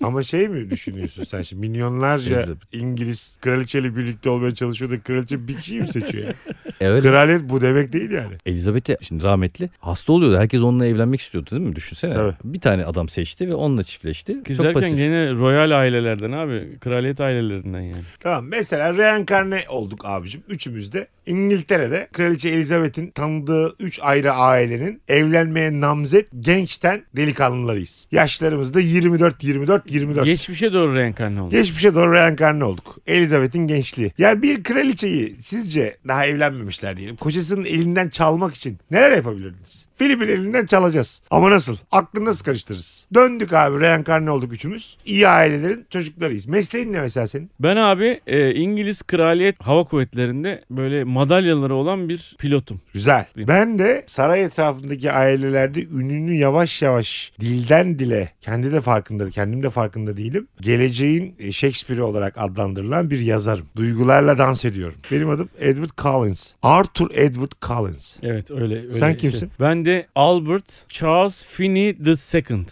C: Ama şey mi düşünüyorsun sen şimdi milyonlarca
F: Elizabeth.
C: İngiliz kraliçeyle birlikte olmaya çalışıyor da kraliçe bir kişiyi mi seçiyor? ya?
F: Evet.
C: Kraliyet bu demek değil yani.
F: E Elizabeth de şimdi rahmetli hasta oluyordu. Herkes onunla evlenmek istiyordu değil mi? Düşünsene.
C: Tabii.
F: Bir tane adam seçti ve onunla çiftleşti. Çok
E: Kizerken
F: pasif.
E: gene royal ailelerden abi. Kraliyet ailelerinden yani.
C: Tamam mesela reenkarne olduk abicim. Üçümüz de İngiltere'de kraliçe Elizabeth'in tanıdığı üç ayrı ailenin evlenmeye namzet gençten delikanlılarıyız. Yaşlarımız da 24, 24, 24.
E: Geçmişe doğru reenkarne oldu.
C: Geçmişe doğru reenkarne olduk. Elizabeth'in gençliği. Ya bir kraliçeyi sizce daha evlenmemişler diyelim. Kocasının elinden çalmak için neler yapabilirdiniz? Filip'in elinden çalacağız. Ama nasıl? Aklını nasıl karıştırırız? Döndük abi reenkarne olduk üçümüz. İyi ailelerin çocuklarıyız. Mesleğin ne mesela senin?
E: Ben abi e, İngiliz Kraliyet Hava Kuvvetleri'nde böyle madalyaları olan bir pilotum.
C: Güzel. Ben de saray etrafındaki ailelerde ününü yavaş yavaş dilden dile kendi de farkında, kendim de farkında değilim. Geleceğin e, Shakespeare'i olarak adlandırılan bir yazarım. Duygularla dans ediyorum. Benim adım Edward Collins. Arthur Edward Collins.
E: Evet öyle. öyle
C: Sen
E: şey.
C: kimsin?
E: Ben de Albert Charles Finney II. Yani.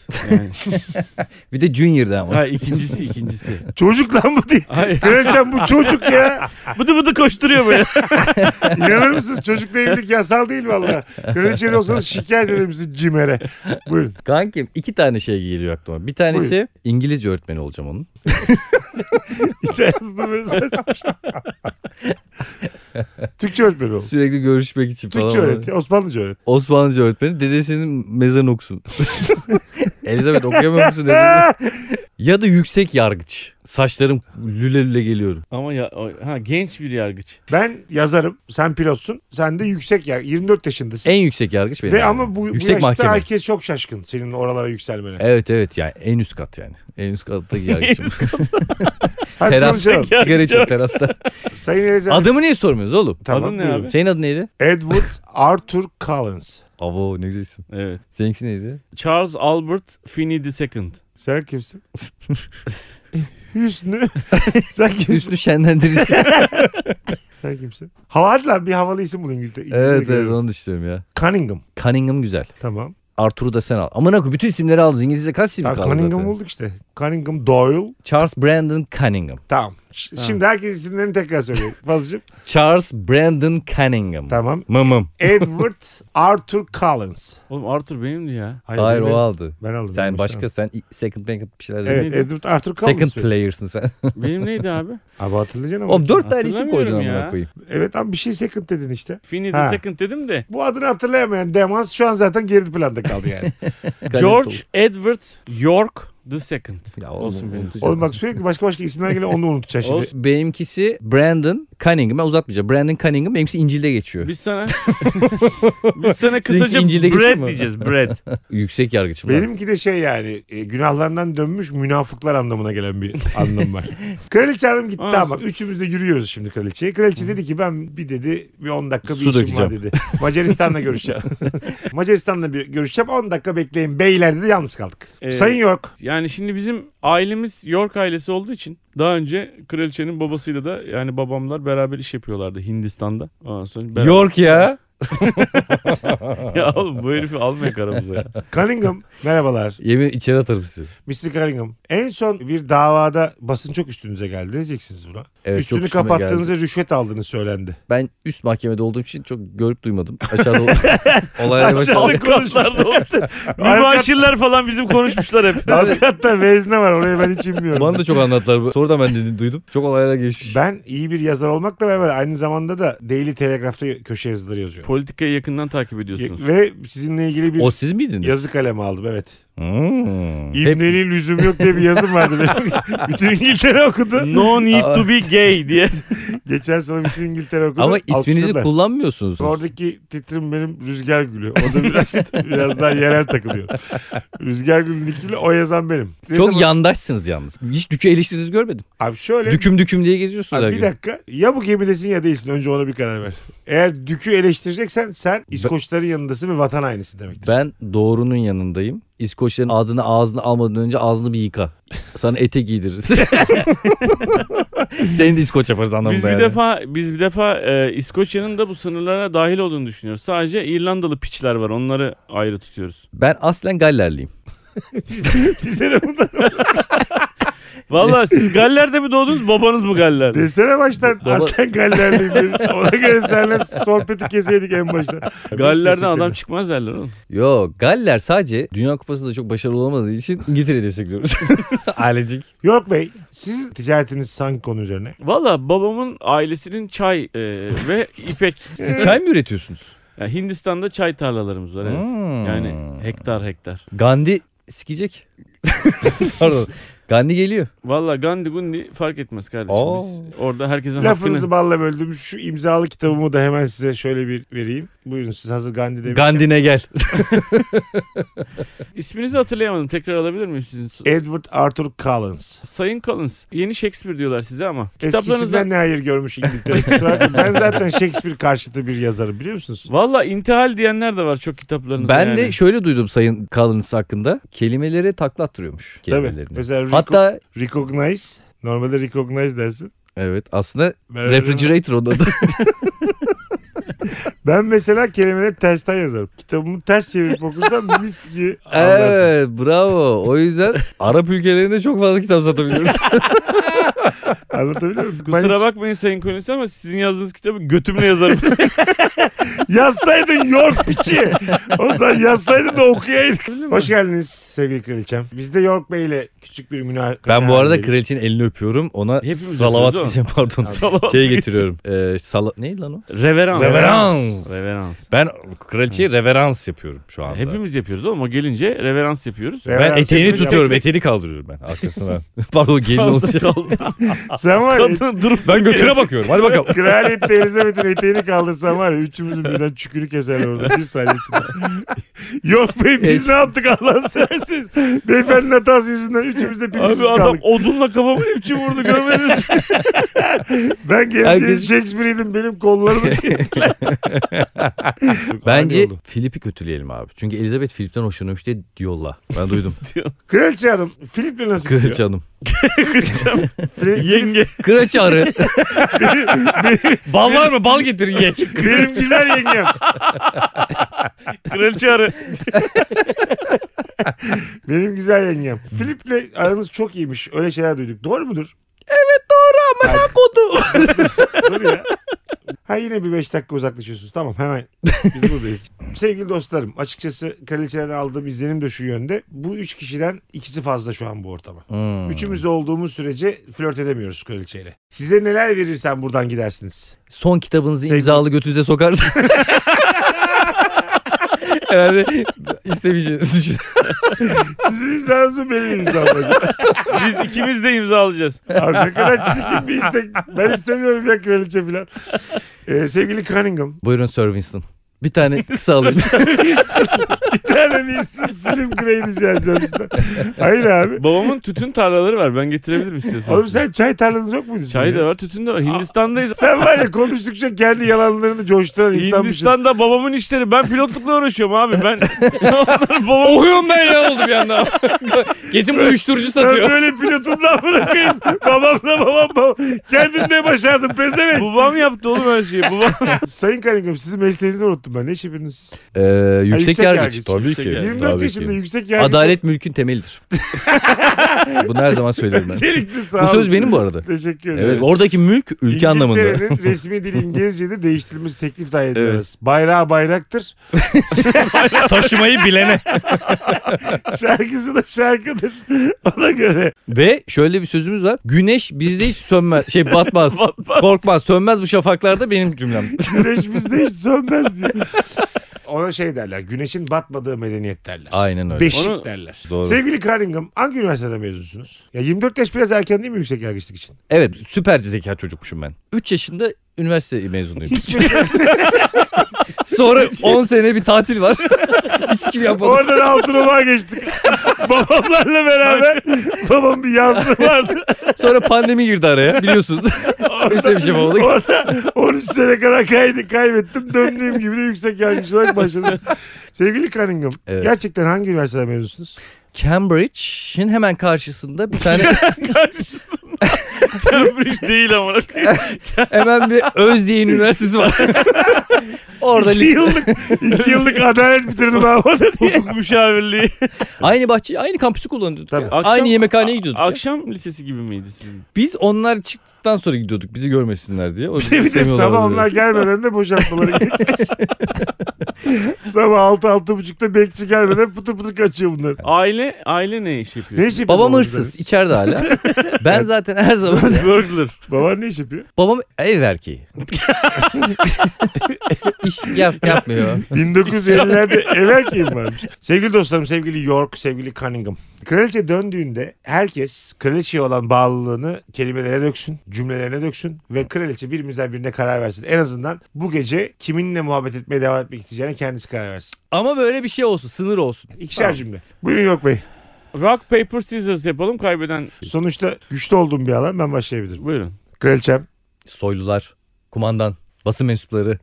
F: Bir de Junior'da ama.
E: ha, ikincisi ikincisi.
C: Çocuk lan bu değil.
E: Ay,
C: Kraliçem bu çocuk ya.
E: bıdı bıdı koşturuyor böyle.
C: İnanır mısınız? Çocukla evlilik yasal değil valla. Kraliçeli olsanız şikayet ederim sizi cimere. Buyurun.
F: Kankim iki tane şey geliyor aklıma. Bir tanesi
C: Buyur.
F: İngilizce öğretmeni olacağım onun.
C: Hiç hayatımda böyle saçma şey. Türkçe öğretmeni ol.
F: Sürekli görüşmek için falan.
C: Türkçe öğret. ya, Osmanlıca öğret.
F: Osmanlıca öğretmeni. Dedesinin mezarını okusun. Elizabeth okuyamıyor musun? dedi. Ya da yüksek yargıç. Saçlarım lüle lüle geliyorum.
E: Ama ya, o- ha, genç bir yargıç.
C: Ben yazarım. Sen pilotsun. Sen de yüksek yer. 24 yaşındasın.
F: En yüksek yargıç benim.
C: Ve
F: yani.
C: ama bu, bu
F: yüksek
C: yaşta
F: mahkeme. E,
C: herkes çok şaşkın senin oralara yükselmene.
F: Evet evet yani en üst kat yani. En üst kattaki yargıçım.
C: Hadi
F: Teras.
C: konuşalım.
F: Sigara içiyor terasta.
C: Sayın Erezer.
F: Adımı niye sormuyoruz oğlum?
C: Tamam,
E: Adın ne
C: buyurun.
E: abi?
F: Senin adın neydi?
C: Edward Arthur Collins.
F: Avo ne güzel isim.
E: Evet.
F: Seninkisi neydi?
E: Charles Albert Finney II.
C: Sen kimsin? Hüsnü. Sen kimsin?
F: Hüsnü şenlendirici.
C: Sen kimsin? Hava hadi lan bir havalı isim bul İngilizce. İngilizce
F: evet evet
C: görüyorum.
F: onu düşünüyorum ya.
C: Cunningham.
F: Cunningham güzel.
C: Tamam.
F: Arthur'u da sen al. Aman akı bütün isimleri aldınız. İngilizce kaç isim
C: Tamam
F: kaldı
C: Cunningham
F: zaten?
C: bulduk işte. Cunningham Doyle.
F: Charles Brandon Cunningham.
C: Tamam. Ş- Şimdi herkes isimlerini tekrar söylüyor. Fazlacığım.
F: Charles Brandon Cunningham.
C: tamam.
F: Mım mım.
C: Edward Arthur Collins.
E: Oğlum Arthur benimdi ya.
F: Hayır
C: ben-
F: o aldı.
C: Ben aldım.
F: Sen
C: yanlış
F: başka
C: aldım.
F: sen i- second bank bir şeyler dedin.
C: Evet şey. Edward Arthur Collins.
F: Second
C: söylüyor.
F: player'sın sen.
E: Benim neydi abi?
C: Abi hatırlayacaksın ama.
F: Oğlum dört tane isim koydun
E: Hatırlamıyorum ya.
F: amına koyayım.
C: Evet abi bir şey second dedin işte.
E: Finney
C: Ha.
E: II dedim de.
C: Bu adını hatırlayamayan Demans şu an zaten geri planda kaldı yani.
E: George Edward York II.
F: Ya
E: Olsun benim.
F: unutacağım.
C: Oğlum bak sürekli başka başka isimler geliyor onu unutacaksın şimdi.
F: Olsun. Benimkisi Brandon Cunningham. Ben uzatmayacağım. Brandon Cunningham benimkisi İncil'de geçiyor.
E: Biz sana biz sana kısaca
F: İncil'de geçiyor
E: bread
F: mu?
E: diyeceğiz bread.
F: Yüksek yargıçım. ben.
C: Benimki de şey yani e, günahlarından dönmüş münafıklar anlamına gelen bir anlam var. Kraliçe hanım gitti
E: Aa,
C: ama üçümüz de yürüyoruz şimdi kraliçeye. Kraliçe dedi ki ben bir dedi bir 10 dakika bir
F: Su
C: işim var
F: dökeceğim.
C: dedi. Macaristan'la görüşeceğim. Macaristan'la bir görüşeceğim 10 dakika bekleyin beyler dedi yalnız kaldık.
E: Ee,
C: Sayın York
E: Yani şimdi bizim ailemiz York ailesi olduğu için daha önce kraliçenin babasıyla da yani babamlar beraber iş yapıyorlardı Hindistan'da. Ondan sonra beraber-
F: York ya.
E: ya oğlum bu herifi almayak aramıza ya.
C: Cunningham merhabalar.
F: Yemin içeri atarım sizi.
C: Mr. Cunningham en son bir davada basın çok üstünüze geldi. Ne diyeceksiniz buna?
F: Evet, çok
C: Üstünü
F: üstüme
C: kapattığınızda
F: geldi.
C: rüşvet aldığını söylendi.
F: Ben üst mahkemede olduğum için çok görüp duymadım. Aşağıda ol- olaylara başladım.
C: Aşağıda konuşmuşlar.
E: Avukatlar da oldu. Mübaşirler falan bizim konuşmuşlar hep.
C: Avukatlar vezne var oraya ben hiç inmiyorum.
F: Bana da çok anlattılar. bu. Sonra da ben de duydum. Çok olaylar geçmiş.
C: Ben iyi bir yazar olmakla beraber aynı zamanda da Daily Telegraph'ta köşe yazıları yazıyorum.
E: Politikayı yakından takip ediyorsunuz.
C: Ye- Ve sizinle ilgili bir
F: O siz miydiniz?
C: yazı kalemi aldım evet.
F: Hmm. Hep
C: İbneliğin lüzum yok diye bir yazım vardı. benim. bütün İngiltere okudu.
E: No need to be gay diye.
C: Geçen sene bütün İngiltere okudu.
F: Ama isminizi
C: Alkışladılar.
F: kullanmıyorsunuz.
C: Oradaki titrim benim Rüzgar Gülü. O da biraz, biraz daha yerel takılıyor. Rüzgar Gülü'nün ikili o yazan benim. Ne
F: Çok
C: zaman-
F: yandaşsınız yalnız. Hiç dükü eleştiriniz görmedim.
C: Abi şöyle.
F: Düküm düküm diye geziyorsunuz her
C: Abi bir
F: gün.
C: dakika ya bu gemidesin ya değilsin önce ona bir karar ver. Eğer Dük'ü eleştireceksen sen İskoçların yanındasın ve vatan aynısı demektir.
F: Ben doğrunun yanındayım. İskoçların adını ağzını almadan önce ağzını bir yıka. Sana ete giydiririz. Seni de İskoç yaparız anlamında
E: Biz bir
F: yani.
E: defa biz bir defa e, İskoçya'nın da bu sınırlara dahil olduğunu düşünüyoruz. Sadece İrlandalı piçler var. Onları ayrı tutuyoruz.
F: Ben aslen Gallerliyim.
C: Bize de bundan
E: Valla siz Galler'de mi doğdunuz? Babanız mı Galler'de?
C: Desene baştan aslen Galler'deyim deriz. Ona göre seninle sohbeti keseydik en başta.
E: Galler'den adam çıkmaz derler oğlum.
F: Yok Galler sadece Dünya Kupası'nda çok başarılı olamadığı için İngiltere'yi destekliyoruz. Ailecik.
C: Yok bey sizin ticaretiniz sanki konu üzerine.
E: Valla babamın ailesinin çay e, ve ipek.
F: Siz E, çay mı üretiyorsunuz?
E: Ya Hindistan'da çay tarlalarımız var. evet.
F: Hmm.
E: Yani hektar hektar.
F: Gandhi sikecek. Pardon. Gandhi geliyor.
E: Valla Gandhi Gundi fark etmez kardeşim.
F: Oo.
E: Biz orada herkesin
C: Lafınızı
E: hakkını...
C: balla böldüm. Şu imzalı kitabımı da hemen size şöyle bir vereyim. Buyurun siz hazır Gandhi demişken.
F: Gandhi'ne gel.
E: İsminizi hatırlayamadım. Tekrar alabilir miyim sizin?
C: Edward Arthur Collins.
E: Sayın Collins. Yeni Shakespeare diyorlar size ama. Kitaplarınızda
C: Eskisinden ne hayır görmüş İngiltere. Kusura bakmayın. ben zaten Shakespeare karşıtı bir yazarım biliyor musunuz?
E: Valla intihal diyenler de var çok kitaplarınızda
F: Ben
E: yani.
F: de şöyle duydum Sayın Collins hakkında. Kelimeleri takla attırıyormuş.
C: Tabii.
F: Kelimelerini.
C: Mesela Hatta...
F: Hatta
C: recognize. Normalde recognize dersin.
F: evet aslında
C: Ben,
F: refrigerator onun adı.
C: ben mesela kelimeleri tersten yazarım. Kitabımı ters çevirip okursam mis gibi anlarsın.
F: evet bravo. O yüzden Arap ülkelerinde çok fazla kitap satabiliyoruz.
C: Anlatabiliyor muyum? Ben
E: Kusura bakmayın Sayın Collins ama sizin yazdığınız kitabı götümle yazarım.
C: Yazsaydın York piçi. O zaman yazsaydın da okuyaydık. Hoş geldiniz sevgili kraliçem. Biz de York Bey ile küçük bir münakaşa.
F: ben bu arada
C: halindeydik.
F: kraliçenin elini öpüyorum. Ona
E: Hepimiz
F: salavat
E: öpüyoruz
F: diyeceğim pardon.
E: Salavat
F: şey getiriyorum. Ee, sala... Neydi lan o?
E: Reverans.
C: Reverans.
D: Reverans.
E: Reverans.
D: Ben kraliçeye reverans yapıyorum şu anda.
E: Hepimiz yapıyoruz oğlum. O gelince reverans yapıyoruz.
D: ben
C: Reverans
D: eteğini
C: yapınca-
D: tutuyorum. Eteğini kaldırıyorum ben arkasına. Pardon gelin olacak.
C: Sen var ya,
E: Kadın durup
D: Ben götüne bakıyorum. Hadi bakalım.
C: Kraliyet Elizabeth'in eteğini kaldırsan var ya üçümüzün birden çükürü keserler orada bir saniye içinde. Yok bey biz ne yaptık Allah'ın seversiniz. Beyefendinin hatası yüzünden üçümüz de birbirimiz
E: Abi adam
C: kaldık.
E: odunla kafamı hepçi vurdu görmediniz. mi?
C: Ben geleceğim
D: Herkes-
C: Shakespeare'ydim benim kollarımı
F: Bence
C: oldu.
F: Filip'i kötüleyelim abi. Çünkü Elizabeth Filip'ten hoşlanıyormuş diye yolla. Ben duydum.
C: Kraliçe hanım Filip'le nasıl
F: Kraliçe hanım.
C: gidiyor? Filip-
E: Yenge.
F: Kraliçe arı.
D: Bal var mı? Bal getirin ye.
C: Benim güzel yengem.
E: Kraliçe arı.
C: Benim güzel yengem. Filip'le aranız çok iyiymiş. Öyle şeyler duyduk. Doğru mudur? Evet doğru ama sen kodu. Doğru ya. Ha yine bir beş dakika uzaklaşıyorsunuz. Tamam hemen biz buradayız. Sevgili dostlarım açıkçası kraliçeden aldığım izlenim de şu yönde. Bu üç kişiden ikisi fazla şu an bu ortama.
F: Hmm.
C: Üçümüz de olduğumuz sürece flört edemiyoruz kraliçeyle. Size neler verirsen buradan gidersiniz.
F: Son kitabınızı
C: Sevgili-
F: imzalı götünüze sokarsın. Herhalde istemeyeceğiniz
C: Sizin imzanızı benim imzam hocam.
E: Biz ikimiz de imza alacağız.
C: Abi ne kadar çirkin bir istek. Ben istemiyorum ya kraliçe falan. Ee, sevgili Cunningham.
F: Buyurun Sir Winston. Bir tane kısa alın.
C: Bir tane bir istek Slim Grey rica edeceğim işte. Hayır abi.
E: Babamın tütün tarlaları var. Ben getirebilirim istiyorsan.
C: Oğlum sen çay tarlanız yok muydu? sizin
E: Çay
C: ya?
E: da var, tütün de var. Hindistan'dayız.
C: Sen var ya konuştukça kendi yalanlarını coşturan insanmışsın.
E: Hindistan'da babamın işleri. Ben pilotlukla uğraşıyorum abi. Ben Onların babam
D: Okuyorum ben ya oldu bir anda. Kesin uyuşturucu
C: Ben
D: satıyor.
C: böyle pilotumdan bırakayım. Babamla babam babam. Kendim ne başardım pezevenk.
E: babam yaptı oğlum her şeyi. Babam
C: Sayın Karingöm sizin mesleğinizi unuttum ben. Ne iş yapıyorsunuz siz?
F: Ee, yüksek,
C: yüksek
F: yargıç.
C: yargıç.
F: Tabii
E: Yüksek
F: ki.
E: yargıç.
C: 24
F: tabii
C: yaşında
F: ki.
C: yüksek yargı.
F: Adalet mülkün temelidir. Bunu her zaman söylerim ben.
C: Çelikli sağ
F: Bu söz
C: olun.
F: benim bu arada.
C: Teşekkür ederim.
F: Evet, oradaki mülk ülke anlamında.
C: İngiltere'nin resmi dili İngilizce'de değiştirilmesi teklif dahi ediyoruz.
F: Evet.
C: Bayrağı bayraktır.
D: Taşımayı bilene.
C: Şarkısı da şarkıdır. Ona göre.
F: Ve şöyle bir sözümüz var. Güneş bizde hiç sönmez. Şey batmaz. Korkmaz. Sönmez bu şafaklarda benim cümlem.
C: Güneş bizde hiç sönmez diyor. Ona şey derler. Güneşin batmadığı medeniyet derler.
F: Aynen öyle.
C: Beşik
E: Onu-
C: derler.
F: Doğru.
C: Sevgili Cunningham hangi üniversiteden mezunsunuz? Ya 24 yaş biraz erken değil mi yüksek yargıçlık için?
F: Evet süper zeka çocukmuşum ben. 3 yaşında üniversite mezunuyum.
C: Hiç mi?
F: Sonra 10 sene bir tatil var. Hiç kim yapmadı.
C: Oradan altın ovağa geçtik. Babamlarla beraber babam bir yazdı vardı.
F: Sonra pandemi girdi araya biliyorsunuz. Kimse bir şey yapamadık.
C: Orada 13 sene kadar kaydı, kaybettim. Döndüğüm gibi de yüksek yargıç olarak başladım. Sevgili Cunningham
F: Evet.
C: gerçekten hangi üniversiteden mezunsunuz?
F: Cambridge'in hemen karşısında bir tane
E: Cambridge değil ama.
F: hemen bir Özyeğin Üniversitesi var. Orada
C: İki
F: lise-
C: yıllık, iki yıllık adalet bitirdim ama.
E: Hukuk müşavirliği.
F: aynı bahçeyi aynı kampüsü kullanıyorduk.
C: Tabii.
F: ya.
E: Akşam-
F: aynı yemekhaneye gidiyorduk. ya.
E: Akşam lisesi gibi miydi sizin?
F: Biz onlar çıktıktan sonra gidiyorduk bizi görmesinler diye. O yüzden
C: bir de
F: istemiyorlardı
C: sabah
F: dedi.
C: onlar şey gelmeden de boşaltmaları gerekiyor. sabah 6 altı buçukta bekçi gelmeden pıtır pıtır kaçıyor bunlar.
E: Aile aile ne iş
C: Ne
E: yapıyor?
C: iş yapıyor
F: Babam
C: babanız
F: hırsız içeride hala. ben zaten her zaman
E: Burglar.
C: benim? Baban ne iş yapıyor?
F: babam ev erkeği. İş yap, yapmıyor.
C: 1950'lerde ev erkeğim varmış. Sevgili dostlarım, sevgili York, sevgili Cunningham. Kraliçe döndüğünde herkes kraliçeye olan bağlılığını kelimelere döksün, cümlelerine döksün ve kraliçe birimizden birine karar versin. En azından bu gece kiminle muhabbet etmeye devam etmek isteyeceğine kendisi karar versin.
F: Ama böyle bir şey olsun sınır olsun.
C: İkişer cümle. Buyurun York Bey.
E: Rock paper scissors yapalım kaybeden.
C: Sonuçta güçlü olduğum bir alan ben başlayabilirim.
E: Buyurun.
C: Kraliçem
F: Soylular, kumandan, basın mensupları.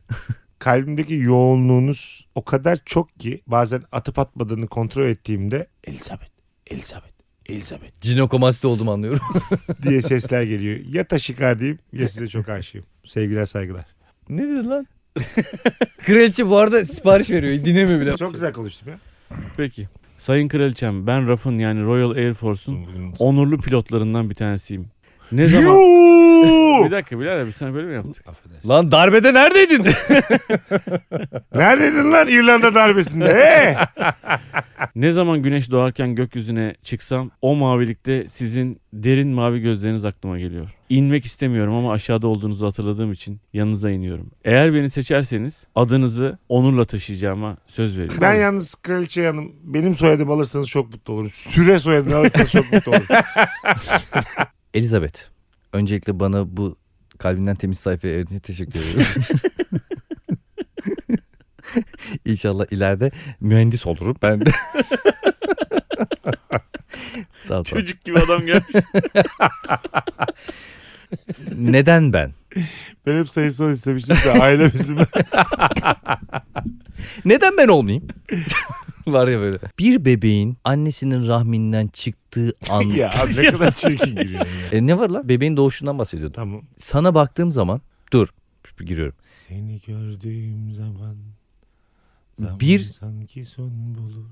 C: kalbimdeki yoğunluğunuz o kadar çok ki bazen atıp atmadığını kontrol ettiğimde Elizabeth, Elizabeth, Elizabeth
F: Cinokomasti olduğumu anlıyorum.
C: diye sesler geliyor. Ya taşikardiyim ya size çok aşığım. Sevgiler saygılar.
F: ne dedi lan? Kraliçe bu arada sipariş veriyor. Dinlemiyor bile.
C: Çok güzel konuştum ya.
E: Peki. Sayın Kraliçem ben RAF'ın yani Royal Air Force'un onurlu pilotlarından bir tanesiyim. Ne zaman?
C: Yuu!
E: Bir dakika Bilal abi sen böyle mi yaptık?
D: Lan darbede neredeydin?
C: Neredeydin lan İrlanda darbesinde? Ee?
E: Ne zaman güneş doğarken gökyüzüne çıksam o mavilikte sizin derin mavi gözleriniz aklıma geliyor. İnmek istemiyorum ama aşağıda olduğunuzu hatırladığım için yanınıza iniyorum. Eğer beni seçerseniz adınızı onurla taşıyacağıma söz veriyorum.
C: Ben yalnız kraliçe hanım benim soyadımı alırsanız çok mutlu olurum. Süre soyadını alırsanız çok mutlu olurum.
F: Elizabeth. Öncelikle bana bu kalbinden temiz sayfaya erdiğin için teşekkür ederim. İnşallah ileride mühendis olurum ben de. Tamam, tamam.
E: Çocuk gibi adam gel.
F: Neden ben?
C: ben hep sayısal istemiştim de aile bizim.
F: Neden ben olmayayım? Var ya böyle. Bir bebeğin annesinin rahminden çıktığı an.
C: ya abi ne kadar çirkin giriyor. ya.
F: E, ne var la? Bebeğin doğuşundan bahsediyordum.
C: Tamam.
F: Sana baktığım zaman dur giriyorum.
C: Seni gördüğüm zaman zaman
F: Bir-
C: sanki son bulur.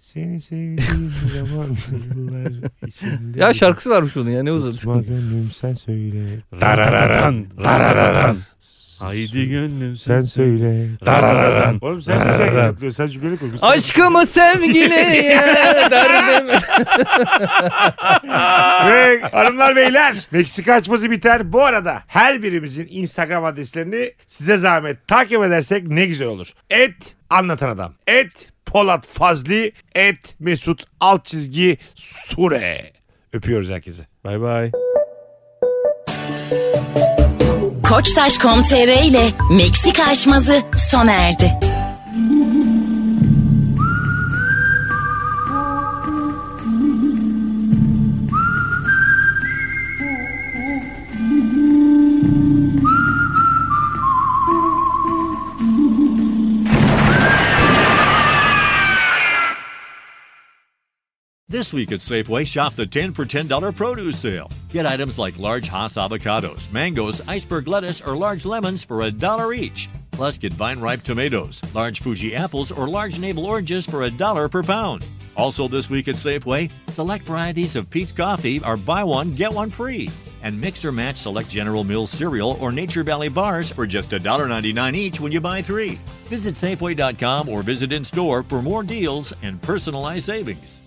C: Seni sevdiğim zaman yıllar içinde.
F: Ya şarkısı varmış bunun ya ne
C: Tutma
F: uzun.
C: gönlüm sen söyle.
E: Tarararan. Tarararan. Haydi gönlüm
C: Sen söyle.
E: Tarararan.
C: Oğlum sen bir şarkı yapıyorsun. Sen cümleleri kurmuşsun.
F: Aşkımı sevgiliye derdim.
C: Ve hanımlar beyler Meksika açması biter. Bu arada her birimizin Instagram adreslerini size zahmet takip edersek ne güzel olur. Et anlatan adam. Et Polat Fazli. Et Mesut alt çizgi Sure. Öpüyoruz herkese.
E: Bay bay.
B: Koçtaş.com.tr ile Meksika açmazı sona erdi.
A: This week at Safeway, shop the 10 for $10 produce sale. Get items like large Hass avocados, mangoes, iceberg lettuce, or large lemons for a dollar each. Plus, get vine ripe tomatoes, large Fuji apples, or large navel oranges for a dollar per pound. Also, this week at Safeway, select varieties of Pete's Coffee are buy one, get one free. And mix or match select General Mills cereal or Nature Valley bars for just $1.99 each when you buy three. Visit Safeway.com or visit in store for more deals and personalized savings.